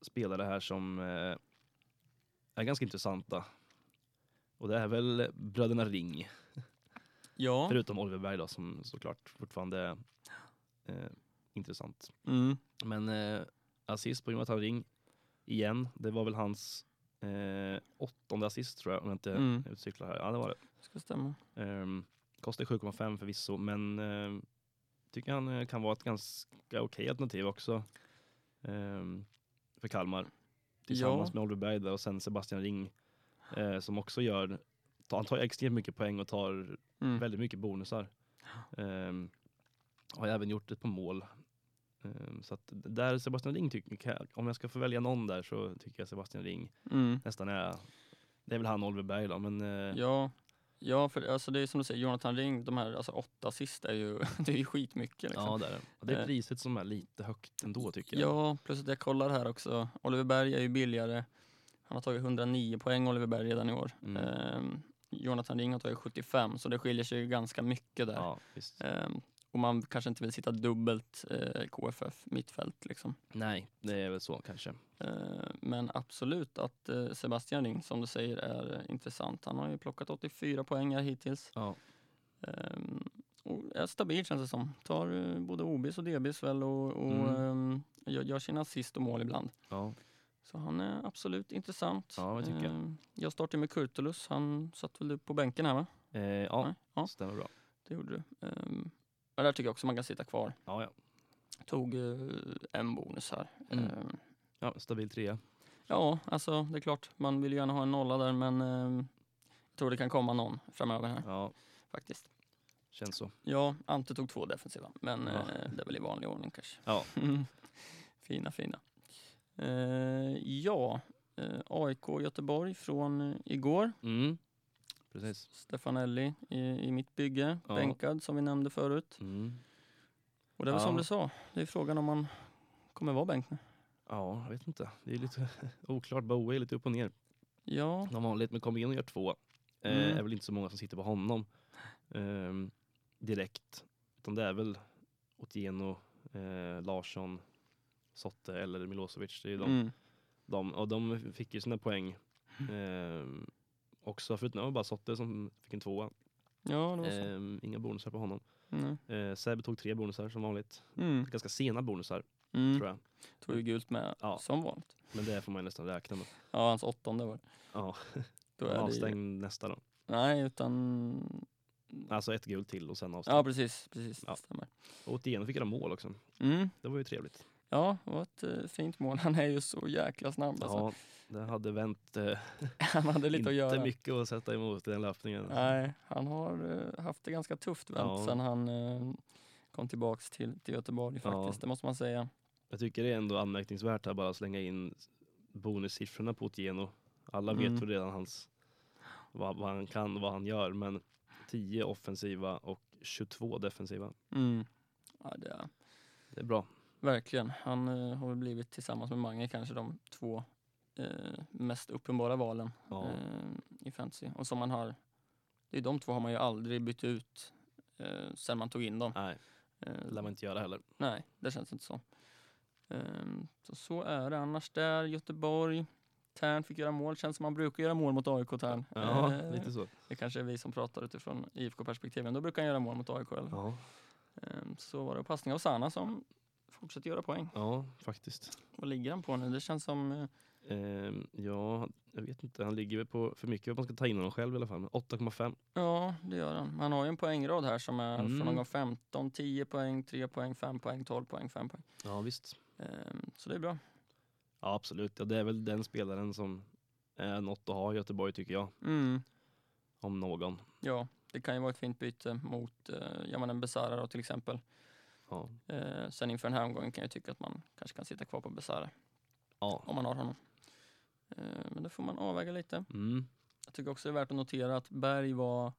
S2: spelare här som eh, är ganska intressanta. Och det är väl bröderna Ring,
S3: Ja,
S2: förutom Oliver Berg då, som såklart fortfarande är eh, intressant.
S3: mm.
S2: Men eh, assist på Jonathan Ring igen. Det var väl hans eh, åttonde assist tror jag, om jag inte
S3: Mm.
S2: utcyklar här. Ja, det var det.
S3: ska stämma.
S2: Ehm, kostar 7,5 förvisso, men ehm, tycker han eh, kan vara ett ganska okej alternativ också ehm, för Kalmar. Tillsammans
S3: Ja.
S2: med Oliver Berg där och sen Sebastian Ring eh, som också gör, tar, han tar ju extremt mycket poäng och tar
S3: Mm.
S2: väldigt mycket bonusar. Ehm, har även gjort ett par mål. Ehm, så att där Sebastian Ring, tycker, om jag ska få välja någon där så tycker jag Sebastian Ring
S3: Mm.
S2: nästan är, det är väl han och Oliver Berg då, men eh,
S3: Ja, ja för alltså det är som du säger, Jonathan Ring, de här alltså, åtta assist är ju, det är ju skitmycket. Liksom.
S2: Ja, det är det. Och det är
S3: Eh.
S2: priset som är lite högt ändå tycker jag.
S3: Ja, plus att jag kollar här också. Oliver Berg är ju billigare. Han har tagit 109 poäng, Oliver Berg, redan i år.
S2: Mm.
S3: Ehm, Jonathan Ring har tagit 75, så det skiljer sig ju ganska mycket där.
S2: Ja, visst.
S3: Ehm, och man kanske inte vill sitta dubbelt eh, KFF mittfält. Liksom.
S2: Nej, det är väl så kanske.
S3: Ehm, men absolut att eh, Sebastian Ring, som du säger, är eh, intressant. Han har ju plockat 84 poäng här hittills.
S2: Ja.
S3: Ehm, och är stabil känns det som. Tar eh, både OBs och DBs väl och, och
S2: Mm.
S3: ehm, gör, gör sina assist och mål ibland.
S2: Ja.
S3: Så han är absolut intressant.
S2: Ja, det tycker jag.
S3: Ehm, jag startade med Kurtulus. Han satt väl du på bänken här va?
S2: Eh, ja,
S3: Nej? ja
S2: stämmer bra.
S3: det gjorde du. Ehm, ja, där tycker jag också man kan sitta kvar.
S2: Ja, ja.
S3: Tog eh, en bonus här.
S2: Mm.
S3: Ehm,
S2: ja stabil trea.
S3: ja, alltså det är klart. Man vill ju gärna ha en nolla där men ehm, jag tror det kan komma någon framöver här
S2: Ja,
S3: faktiskt.
S2: känns så.
S3: Ja, Ante tog två defensiva, men
S2: Ja.
S3: eh, det är väl i vanlig ordning kanske.
S2: Ja.
S3: Mm. fina, fina. Eh, ja, eh, AIK Göteborg från eh, igår.
S2: Mm. Precis.
S3: Stefanelli i, i mitt bygge,
S2: Ja.
S3: bänkad som vi nämnde förut.
S2: Mm.
S3: Och det var som
S2: Ja.
S3: du sa, det är frågan om man kommer vara bänk nu.
S2: Ja, jag vet inte. Det är lite oklart. Bowie är lite upp och ner.
S3: Ja,
S2: Som vanligt, men kommer in och gör två. Det eh,
S3: Mm.
S2: är väl inte så många som sitter på honom ehm, direkt. Utan det är väl Otieno, eh, Larsson, Sotte eller Milosevic. Det är ju de
S3: mm.
S2: De, och de fick ju sina poäng ehm, också, förutom det var bara Sotte som fick en tvåa.
S3: ja det var så.
S2: Ehm, inga bonusar på honom.
S3: Nej.
S2: Eh, Seb tog tre bonusar som vanligt.
S3: Mm.
S2: Ganska sena bonusar
S3: Mm.
S2: tror jag,
S3: Tog ju gult med,
S2: Ja.
S3: som vanligt.
S2: men det får man ju nästan räkna med.
S3: Ja, hans åttonde var det.
S2: Ja,
S3: Då är det ju,
S2: avstängd nästa då.
S3: Nej, utan...
S2: Alltså ett gult till och sen avstängd.
S3: Ja, precis. precis
S2: Ja.
S3: det stämmer.
S2: Och Otieno fick göra mål också.
S3: Mm.
S2: Det var ju trevligt.
S3: Ja, det var ett eh, fint mål. Han är ju så jäkla snabb. Alltså.
S2: Ja, det hade vänt. Eh,
S3: Han hade lite
S2: inte
S3: att göra.
S2: mycket att sätta emot i den löpningen.
S3: Nej, han har eh, haft det ganska tufft vänt
S2: Ja.
S3: sen han eh, kom tillbaks till, till Göteborg
S2: Ja.
S3: faktiskt, det måste man säga.
S2: Jag tycker det är ändå anmärkningsvärt att bara slänga in bonussiffrorna på Otieno. Alla
S3: Mm.
S2: vet ju redan hans, vad, vad han kan och vad han gör, men 10 offensiva och 22 defensiva.
S3: Mm. Ja, det är,
S2: Det är bra.
S3: verkligen, han eh, har väl blivit tillsammans med Mange kanske de två eh, mest uppenbara valen
S2: Ja.
S3: eh, i fantasy. Och som man har, det är de två har man ju aldrig bytt ut eh, sen man tog in dem.
S2: Nej, det lär
S3: Eh,
S2: man inte göra heller.
S3: Nej, det känns inte så. Ehm, så, så är det annars där. Göteborg, Tern fick göra mål. Känns som man brukar göra mål mot AIK, Tern.
S2: Ja,
S3: Ehm,
S2: lite så.
S3: Det kanske är vi som pratar utifrån IFK-perspektiv, men då brukar han göra mål mot AIK. Eller?
S2: Ja,
S3: Ehm, så var det passning av Sana som fortsätter göra poäng.
S2: ja faktiskt.
S3: Vad ligger han på nu? Det känns som... eh,
S2: Ehm, ja, jag vet inte, han ligger väl på för mycket om man ska ta in honom själv i alla fall. men 8,5.
S3: Ja, det gör han. Han har ju en poängrad här som är
S2: Mm.
S3: från omgång 15, 10 poäng, 3 poäng, 5 poäng, 12 poäng, 5 poäng.
S2: Ja, visst.
S3: Ehm, så det är bra.
S2: Ja, absolut. Ja, det är väl den spelaren som är något att ha i Göteborg tycker jag,
S3: Mm.
S2: om någon.
S3: Ja, det kan ju vara ett fint byte mot eh, Yamanen Besara då till exempel.
S2: Ja,
S3: Eh, sen inför den här omgången kan jag tycka att man kanske kan sitta kvar på Besara
S2: ja
S3: om man har honom. Eh, Men det får man avväga lite.
S2: Mm.
S3: Jag tycker också det är värt att notera att Berg var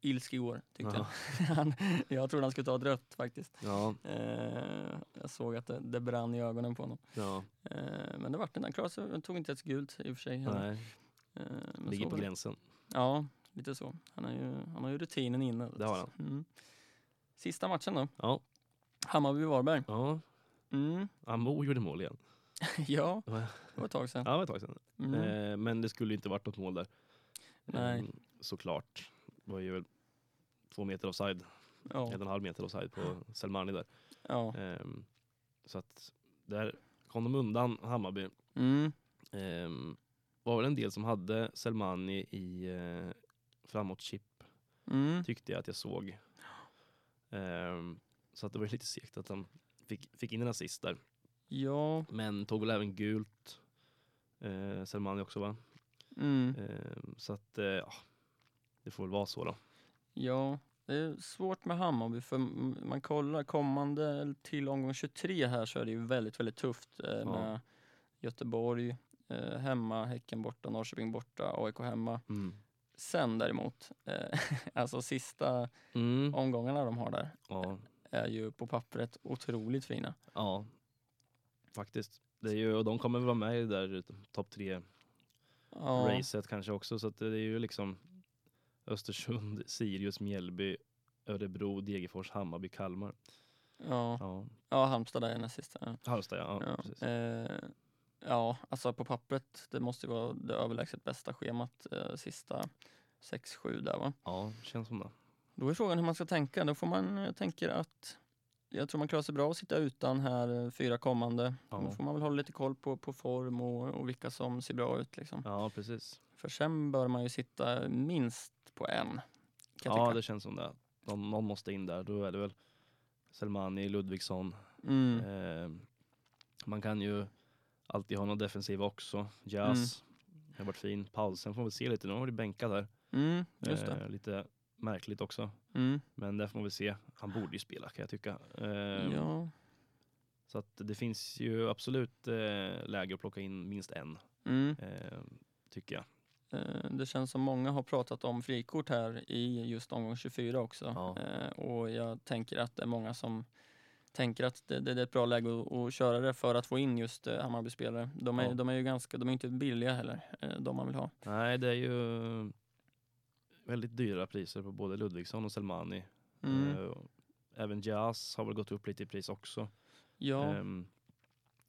S3: ilsk igår, tyckte
S2: Ja.
S3: jag. Han, jag trodde han skulle ta ett rött faktiskt.
S2: Ja,
S3: Eh, jag såg att det, det brann i ögonen på honom.
S2: ja,
S3: Eh, men det vart inte. Han klarade sig, han tog inte ett gult i och för sig. heller.
S2: nej.
S3: Eh, men
S2: Ligger
S3: så
S2: på
S3: var det.
S2: gränsen.
S3: Ja, lite så. Han, är ju, han har ju rutinen inne.
S2: Det har han.
S3: Mm. Sista matchen då.
S2: Ja,
S3: Hammarby-Varberg.
S2: ja.
S3: Mm.
S2: Amo gjorde mål igen.
S3: ja, det
S2: Va?
S3: var ett tag sedan.
S2: Ja, det var ett tag sedan.
S3: Mm.
S2: Eh, men det skulle ju inte varit något mål där.
S3: Nej.
S2: Eh, såklart. Det var ju väl två meter offside, en
S3: Ja.
S2: och en halv meter offside på Selmani där.
S3: Ja.
S2: Ehm, så att där kom de undan Hammarby.
S3: Mm.
S2: Ehm, var väl en del som hade Selmani i eh, framåtchip,
S3: Mm.
S2: tyckte jag att jag såg. Ehm, så att det var ju lite segt att han fick, fick in en assist där.
S3: Ja.
S2: Men tog väl även gult. Eh, Selmani också va?
S3: Mm.
S2: Ehm, så att eh, ja, det får väl vara så då.
S3: Ja, det är svårt med Hammarby för m- man kollar kommande till omgång 23 här så är det ju väldigt, väldigt tufft eh,
S2: Ja.
S3: med Göteborg eh, hemma, Häcken borta, Norrköping borta, AIK hemma.
S2: Mm.
S3: Sen däremot, eh, alltså sista
S2: Mm.
S3: omgångarna de har där
S2: Ja,
S3: är ju på pappret otroligt fina.
S2: ja, faktiskt. Det är ju, och de kommer väl vara med i det där topp tre
S3: Ja,
S2: racet kanske också. Så att det är ju liksom Östersund, Sirius, Mjällby, Örebro, Degerfors, Hammarby, Kalmar.
S3: ja,
S2: Ja,
S3: ja Halmstad där är näst sista. Ja.
S2: Halmstad ja. ja, precis.
S3: Ja, eh, ja, alltså på pappret, det måste ju vara det överlägset bästa schemat eh, sista 6-7 där va.
S2: ja känns som det.
S3: Då är frågan hur man ska tänka. Då får man, jag tänker att jag tror man klarar sig bra att sitta utan här eh, fyra kommande.
S2: Ja.
S3: Då får man väl hålla lite koll på, på form och, och vilka som ser bra ut. Liksom.
S2: Ja, precis.
S3: För sen bör man ju sitta minst på en. Kan jag
S2: Ja,
S3: tycka.
S2: det känns som det. Någon, någon måste in där. Då är det väl Selmani, Ludvigsson.
S3: Mm.
S2: Eh, man kan ju alltid ha någon defensiv också. Jazz det har varit fin. Paulsen får vi se lite. Nu har vi bänkat där.
S3: Mm, just det.
S2: Eh, lite märkligt också.
S3: Mm.
S2: Men där får man väl se. Han borde ju spela kan jag tycka. Eh,
S3: Ja.
S2: Så att det finns ju absolut eh, läge att plocka in minst en,
S3: Mm.
S2: eh, tycker jag.
S3: Eh, Det känns som många har pratat om frikort här i just omgång 24 också.
S2: Ja.
S3: Eh, Och jag tänker att det är många som tänker att det, det, det är ett bra läge att, att köra det för att få in just eh, Hammarby-spelare. De är,
S2: Ja.
S3: de är ju ganska, de är inte billiga heller, eh, de man vill ha.
S2: Nej, det är ju väldigt dyra priser på både Ludvigsson och Selmani.
S3: Mm.
S2: Eh, och även Jazz har väl gått upp lite i pris också.
S3: Ja,
S2: Ehm,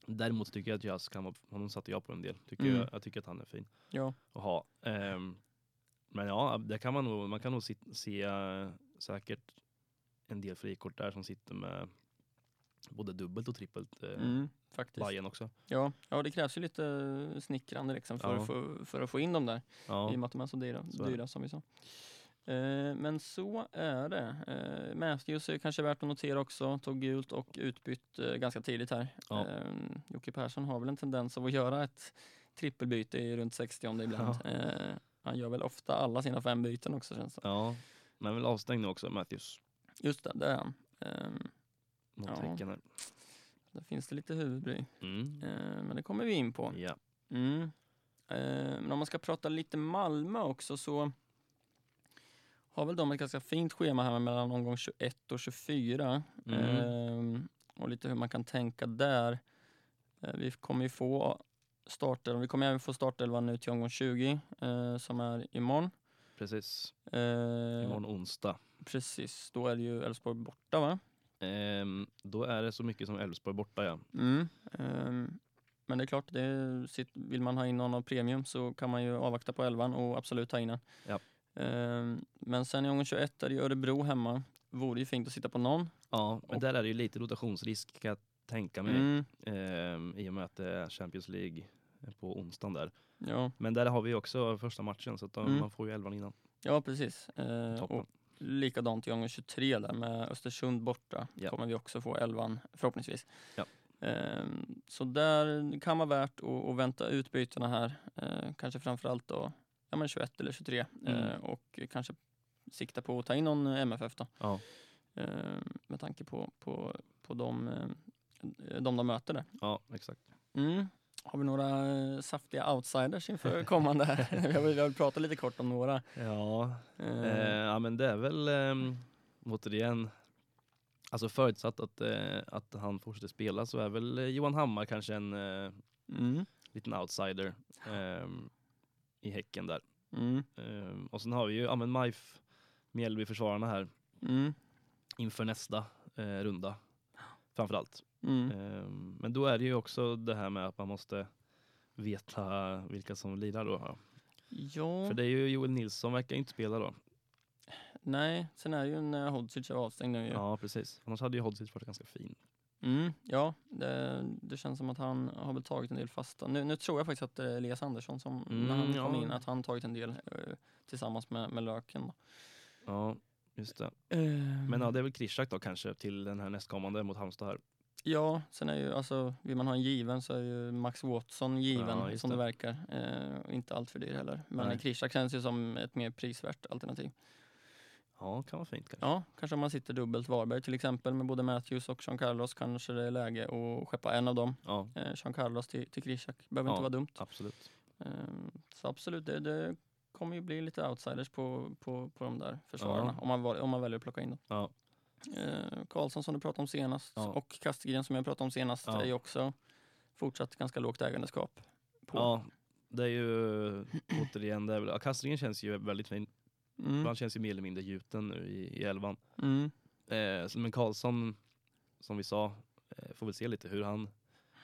S2: däremot tycker jag att Jazz kan vara, honom satte jag på en del. Tycker
S3: Mm.
S2: jag, jag tycker att han är fin
S3: ja.
S2: att ha. Ehm, men ja, det kan man nog, man kan nog se, se eh, säkert en del frikort där som sitter med både dubbelt och trippelt eh,
S3: Mm, faktiskt.
S2: Bajen också.
S3: Ja. ja, det krävs ju lite snickrande liksom för,
S2: Ja.
S3: att, få, för att få in dem där.
S2: Ja.
S3: i och med att de är så dyra,
S2: Så är det.
S3: dyra som vi sa. Eh, men så är det. Eh, Matthews är kanske värt att notera också, tog gult och utbytt eh, ganska tidigt här.
S2: Ja.
S3: Eh, Jocke Persson har väl en tendens av att göra ett trippelbyte i runt 60 ibland. Eh, han gör väl ofta alla sina fem byten också känns det
S2: Ja, men väl avstängd nu också, Matthews.
S3: Just det, det är han. Eh,
S2: Mot
S3: Ja.
S2: Häcken här.
S3: där finns det lite huvudbry,
S2: Mm.
S3: eh, men det kommer vi in på.
S2: Ja.
S3: Mm. Eh, men om man ska prata lite Malmö också så har väl de ett ganska fint schema här mellan omgång 21 och 24.
S2: Mm.
S3: Ehm, och lite hur man kan tänka där. Eh, vi kommer ju få starter, vi kommer även få startelvan nu till omgång 20 eh, som är imorgon.
S2: Precis.
S3: Eh,
S2: Imorgon onsdag.
S3: Precis, då är det ju Elfsborg borta va?
S2: Ehm, då är det så mycket som Elfsborg borta, ja.
S3: Mm. ehm, men det är klart, det är sitt, vill man ha in någon av premium så kan man ju avvakta på elvan och absolut ta in den.
S2: Ja.
S3: Ehm, men sen i omgång 21 är det ju Örebro hemma. Vore ju fint att sitta på någon.
S2: Ja, men
S3: Och-
S2: där är det ju lite rotationsrisk kan jag tänka mig.
S3: Mm.
S2: Ehm, I och med att det är Champions League på onsdagen där.
S3: Ja,
S2: Men där har vi ju också första matchen, så att då,
S3: Mm.
S2: man får ju elvan innan.
S3: ja, precis. Ehm,
S2: Toppen.
S3: och likadant i omgång 23 där med Östersund borta.
S2: Ja.
S3: Kommer vi också få elvan förhoppningsvis.
S2: Ja.
S3: Ehm, så där kan vara värt att, att vänta ut bytena här. Ehm, kanske framförallt då ja, men 21 eller 23
S2: Mm.
S3: Ehm, och kanske sikta på att ta in någon MFF då.
S2: Ja.
S3: eh, med tanke på, på, på de, eh, de de möter där.
S2: ja, exakt.
S3: Mm. Har vi några eh, saftiga outsiders inför kommande här? jag, vill, jag vill prata lite kort om några.
S2: Ja,
S3: Eh,
S2: Eh, ja men det är väl ehm, återigen, alltså förutsatt att, eh, att han fortsätter spela så är väl eh, Johan Hammar kanske en eh,
S3: Mm,
S2: liten outsider ehm, i Häcken där.
S3: mm,
S2: Ehm, och sen har vi ju, ja men Maif, Mjällby-försvararna här
S3: mm,
S2: inför nästa eh, runda framförallt.
S3: mm,
S2: Ehm, men då är det ju också det här med att man måste veta vilka som lirar då. ja.
S3: ja,
S2: För det är ju Joel Nilsson verkar ju inte spela då.
S3: nej, sen är ju när Hodzic är avstängd nu ju.
S2: Ja precis, annars hade ju Hodzic varit ganska fin.
S3: Mm, ja, det, det känns som att han har väl tagit en del fasta. Nu, nu tror jag faktiskt att det är Elias Andersson som, när han
S2: Mm,
S3: kom
S2: ja.
S3: in, att han tagit en del eh, tillsammans med, med Löken.
S2: Ja, just det. Eh, Men
S3: Men
S2: ja, det är väl Krishak då kanske till den här nästkommande mot Halmstad här.
S3: Ja, sen är ju alltså, vill man ha en given så är ju Max Watson given
S2: Ja, just
S3: som det,
S2: det.
S3: verkar. Eh, och inte allt för dyr heller. Men
S2: Nej.
S3: Krishak känns ju som ett mer prisvärt alternativ.
S2: Ja, kan vara fint kanske.
S3: Ja, kanske om man sitter dubbelt Varberg till exempel med både Matthews och Jean Carlos kanske det är läge att skeppa en av dem.
S2: Ja,
S3: Eh, Jean Carlos till, till Krishak, behöver inte
S2: Ja.
S3: vara dumt.
S2: absolut.
S3: Eh, så absolut, det, det kommer ju bli lite outsiders på, på, på de där försvararna om, man, val- om man väljer att plocka in dem.
S2: Ja.
S3: Eh, Karlsson som du pratade om senast
S2: Ja.
S3: och Kastgren som jag pratade om senast
S2: Ja.
S3: är ju också fortsatt ganska lågt ägandeskap. På.
S2: Ja, det är ju återigen, det är väl, ja, kastringen känns ju väldigt fin.
S3: Mm.
S2: Han känns ju mer eller mindre gjuten nu i, i elvan.
S3: Mm.
S2: Eh, så- men Karlsson, som vi sa, eh, får väl se lite hur han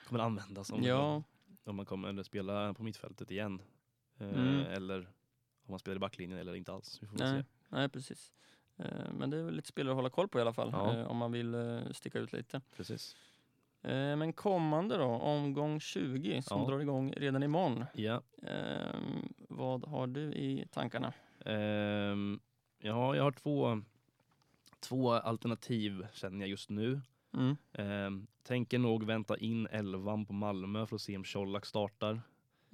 S2: kommer användas om,
S3: Ja,
S2: om han kommer eller spela på mittfältet igen. Eh,
S3: Mm.
S2: Eller om han spelar i backlinjen eller inte alls. Vi får väl
S3: nej,
S2: se.
S3: nej precis. Eh, Men det är väl lite spelare att hålla koll på i alla fall
S2: Ja.
S3: eh, om man vill eh, sticka ut lite.
S2: Precis.
S3: Eh, Men kommande då, omgång 20 som
S2: Ja.
S3: drar igång redan imorgon.
S2: Ja,
S3: Eh, Vad har du i tankarna?
S2: Ehm, ja, jag har två, två alternativ känner jag just nu.
S3: Mm.
S2: Ehm, tänker nog vänta in elvan på Malmö för att se om Colak startar.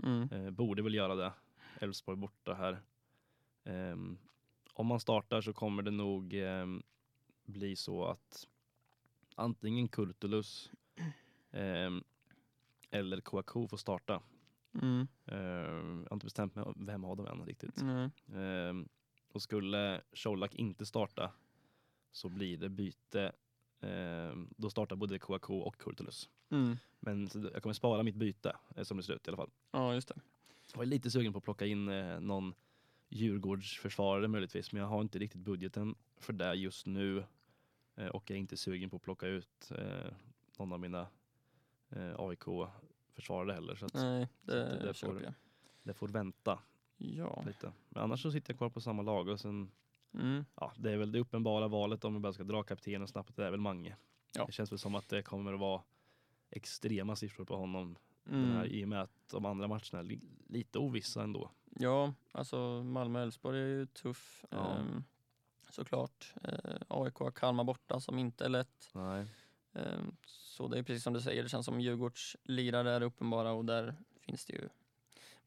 S3: Mm.
S2: Ehm, borde väl göra det. Elfsborg borta här. Ehm, om man startar så kommer det nog ehm, bli så att antingen Kurtulus ehm, eller Kouakou får starta.
S3: Mm.
S2: Ehm, jag har inte bestämt mig vem av dem än riktigt.
S3: Nej.
S2: Ehm, och skulle Colak inte starta så blir det byte. Ehm, då startar både Kouakou och Kurtulus.
S3: Mm.
S2: Men så jag kommer spara mitt byte eh, som det ser ut i alla fall.
S3: Ja, just det.
S2: Jag är lite sugen på att plocka in eh, någon Djurgårdsförsvarare möjligtvis, men jag har inte riktigt budgeten för det just nu. Eh, och jag är inte sugen på att plocka ut eh, någon av mina eh, AIK-försvarare heller, så att
S3: Nej,
S2: Så
S3: det,
S2: det där får
S3: köper
S2: du.
S3: jag.
S2: det får vänta
S3: Ja.
S2: lite. Men annars så sitter jag kvar på samma lag och sen
S3: Mm.
S2: ja, det är väl det uppenbara valet om vi bara ska dra kaptenen snabbt, det är väl Mange.
S3: Ja.
S2: Det känns väl som att det kommer att vara extrema siffror på honom den här,
S3: Mm.
S2: i och med att de andra matcherna är li- lite ovissa ändå.
S3: Ja, alltså Malmö-Elfsborg är ju tuff.
S2: Ja.
S3: Ehm, såklart. Eh, AIK har Kalmar borta som inte är lätt.
S2: Nej.
S3: Ehm, så det är precis som du säger, det känns som Djurgårdslirare är uppenbara och där finns det ju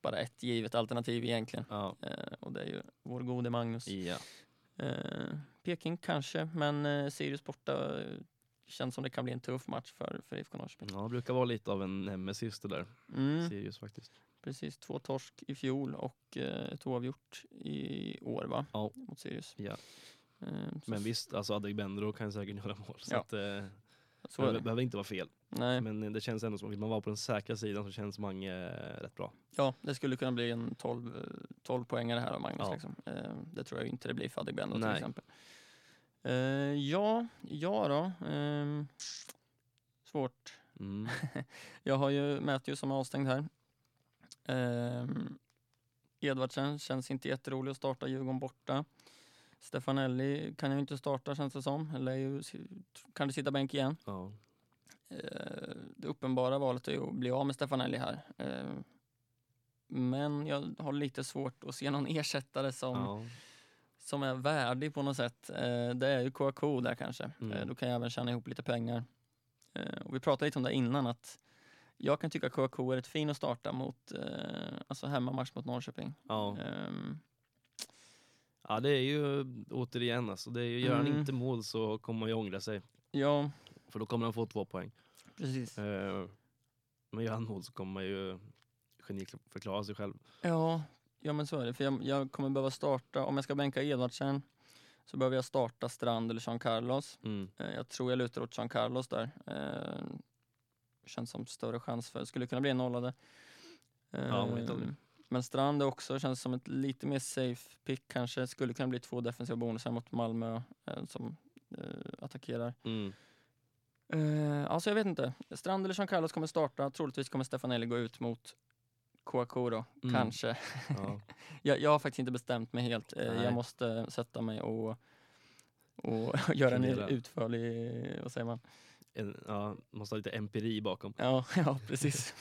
S3: bara ett givet alternativ egentligen.
S2: Ja.
S3: Eh, och det är ju vår gode Magnus.
S2: Ja.
S3: Eh, Peking kanske, men eh, Sirius borta eh, känns som det kan bli en tuff match för, för IFK Norrköping.
S2: ja, det brukar vara lite av en nemesis det där,
S3: Mm.
S2: Sirius faktiskt.
S3: Precis, två torsk i fjol och eh, ett oavgjort i år va?
S2: Ja.
S3: Mot Sirius.
S2: Ja.
S3: Eh, så-
S2: Men visst, alltså Adegbenro kan säkert göra mål, så
S3: Ja.
S2: att, eh,
S3: så är
S2: det
S3: det.
S2: behöver inte vara fel.
S3: Nej.
S2: Men eh, det känns ändå som, vill man vara på den säkra sidan så känns Mange eh, rätt bra.
S3: Ja, det skulle kunna bli en 12, eh, 12 poängare här av Magnus.
S2: Ja.
S3: Liksom. Eh, det tror jag inte det blir för Adegbenro till
S2: Nej.
S3: exempel. Eh, ja, ja då. Ehm, svårt.
S2: Mm.
S3: Jag har ju Matthew som är avstängd här. Ehm, Edvardsen känns inte jätterolig att starta Djurgården borta. Stefanelli kan jag ju inte starta känns det som. Eller är ju, kan du sitta bänk igen?
S2: Ja.
S3: Eh, det uppenbara valet är ju att bli av med Stefanelli här. Eh, men jag har lite svårt att se någon ersättare som,
S2: Ja.
S3: som är värdig på något sätt. Eh, det är ju KK där kanske.
S2: Mm.
S3: Eh, då kan jag även tjäna ihop lite pengar. Eh, och vi pratade lite om det innan att jag kan tycka KK är ett fin att starta mot, eh, alltså hemmamatch mot Norrköping.
S2: Ja.
S3: Ehm,
S2: ja, det är ju återigen alltså, det är ju, gör han
S3: Mm.
S2: inte mål så kommer han ju ångra sig.
S3: ja,
S2: För då kommer han få två poäng.
S3: precis.
S2: Eh, Men gör han mål så kommer man ju geniförklara sig själv.
S3: Ja, ja men så är det. För jag, jag kommer behöva starta, om jag ska bänka Edvardsen så behöver jag starta Strand eller Jean Carlos.
S2: Mm.
S3: Eh, Jag tror jag lutar åt Jean Carlos där. Eh, känns som större chans för, skulle kunna bli en nolla där. Eh,
S2: Ja, men inte aldrig.
S3: men Strand är också, känns som ett lite mer safe pick kanske. Skulle kunna bli två defensiva bonusar mot Malmö eh, som eh, attackerar.
S2: Mm.
S3: Eh, alltså jag vet inte. Strand eller Jean Carlos kommer starta. Troligtvis kommer Stefanelli gå ut mot Kouakou då,
S2: Mm.
S3: kanske.
S2: Ja.
S3: Jag, jag har faktiskt inte bestämt mig helt. Eh,
S2: Nej.
S3: jag måste sätta mig och, och göra en
S2: Fundera.
S3: utförlig, vad säger man?
S2: En, ja, måste ha lite empiri bakom.
S3: Ja, ja precis.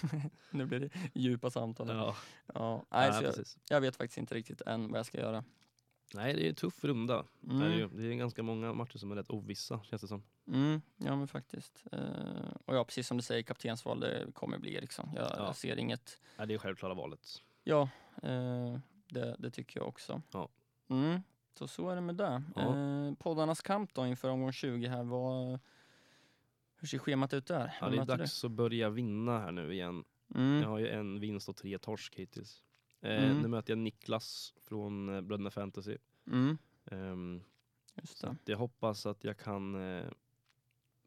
S3: nu blir det djupa samtal. här.
S2: Ja,
S3: Ja, nej,
S2: nej,
S3: så jag,
S2: precis.
S3: jag vet faktiskt inte riktigt än vad jag ska göra.
S2: Nej, det är en tuff runda. Det, är ju,
S3: Mm,
S2: det är ganska många matcher som är rätt ovissa, känns det som.
S3: mm, ja men faktiskt. Eh, och ja, precis som du säger, kaptensval det kommer bli Eriksson. Jag
S2: Ja.
S3: ser inget
S2: Nej, det är självklara valet.
S3: Ja, eh, det, det tycker jag också.
S2: Ja.
S3: Mm, så så är det med det.
S2: Ja.
S3: Eh, poddarnas kamp då inför omgång 20 här, vad, hur ser schemat ut där?
S2: Ja,
S3: Vem
S2: det är
S3: möter
S2: dags att börja vinna här nu igen.
S3: du? Mm.
S2: Jag har ju en vinst och tre torsk hittills. Eh,
S3: Mm.
S2: Nu möter jag Niklas från eh, Bröderna Fantasy.
S3: Mm,
S2: Ehm,
S3: just
S2: så
S3: det.
S2: att jag hoppas att jag kan eh,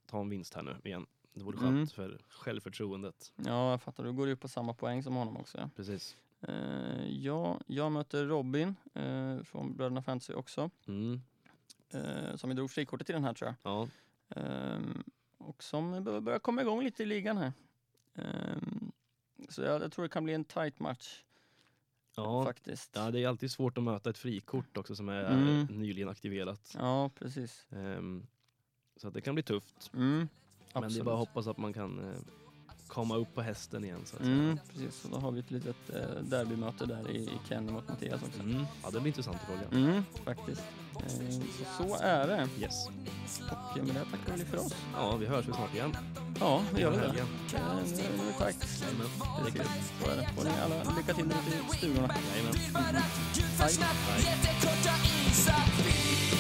S2: ta en vinst här nu igen. Det vore
S3: Mm.
S2: skönt för självförtroendet.
S3: Ja, jag fattar. Du går ju upp på samma poäng som honom också. Ja.
S2: Precis.
S3: Eh, ja, jag möter Robin eh, från Bröderna Fantasy också,
S2: Mm.
S3: eh, som ju drog frikortet i den här tror jag.
S2: Ja.
S3: Ehm, och som bör- börjar komma igång lite i ligan här. Ehm, så jag, jag tror det kan bli en tight match
S2: Ja.
S3: faktiskt.
S2: ja, det är alltid svårt att möta ett frikort också som är
S3: Mm.
S2: eh, nyligen aktiverat.
S3: Ja, precis.
S2: Ehm, så att det kan bli tufft.
S3: Mm.
S2: Men det är bara att hoppas att man kan eh, komma upp på hästen igen. Så att säga.
S3: Mm, precis, så då har vi ett litet eh, derbymöte där i i Kenny mot Mattias också.
S2: Mm. Ja, det blir intressant att följa.
S3: Mm, faktiskt. Eh, så, så är det.
S2: Yes.
S3: Och eh, med det här tackar vi för oss.
S2: Ja, vi hörs väl snart igen.
S3: Ja, vi gör väl det.
S2: Helgen.
S3: Eh, nu- nu är det tajt.
S2: Jajamän. Det räcker.
S3: Precis, så är det. Får ni alla lycka till ute i stugorna.
S2: Jajamän.
S1: Ljud för snabbt, jättekorta isar.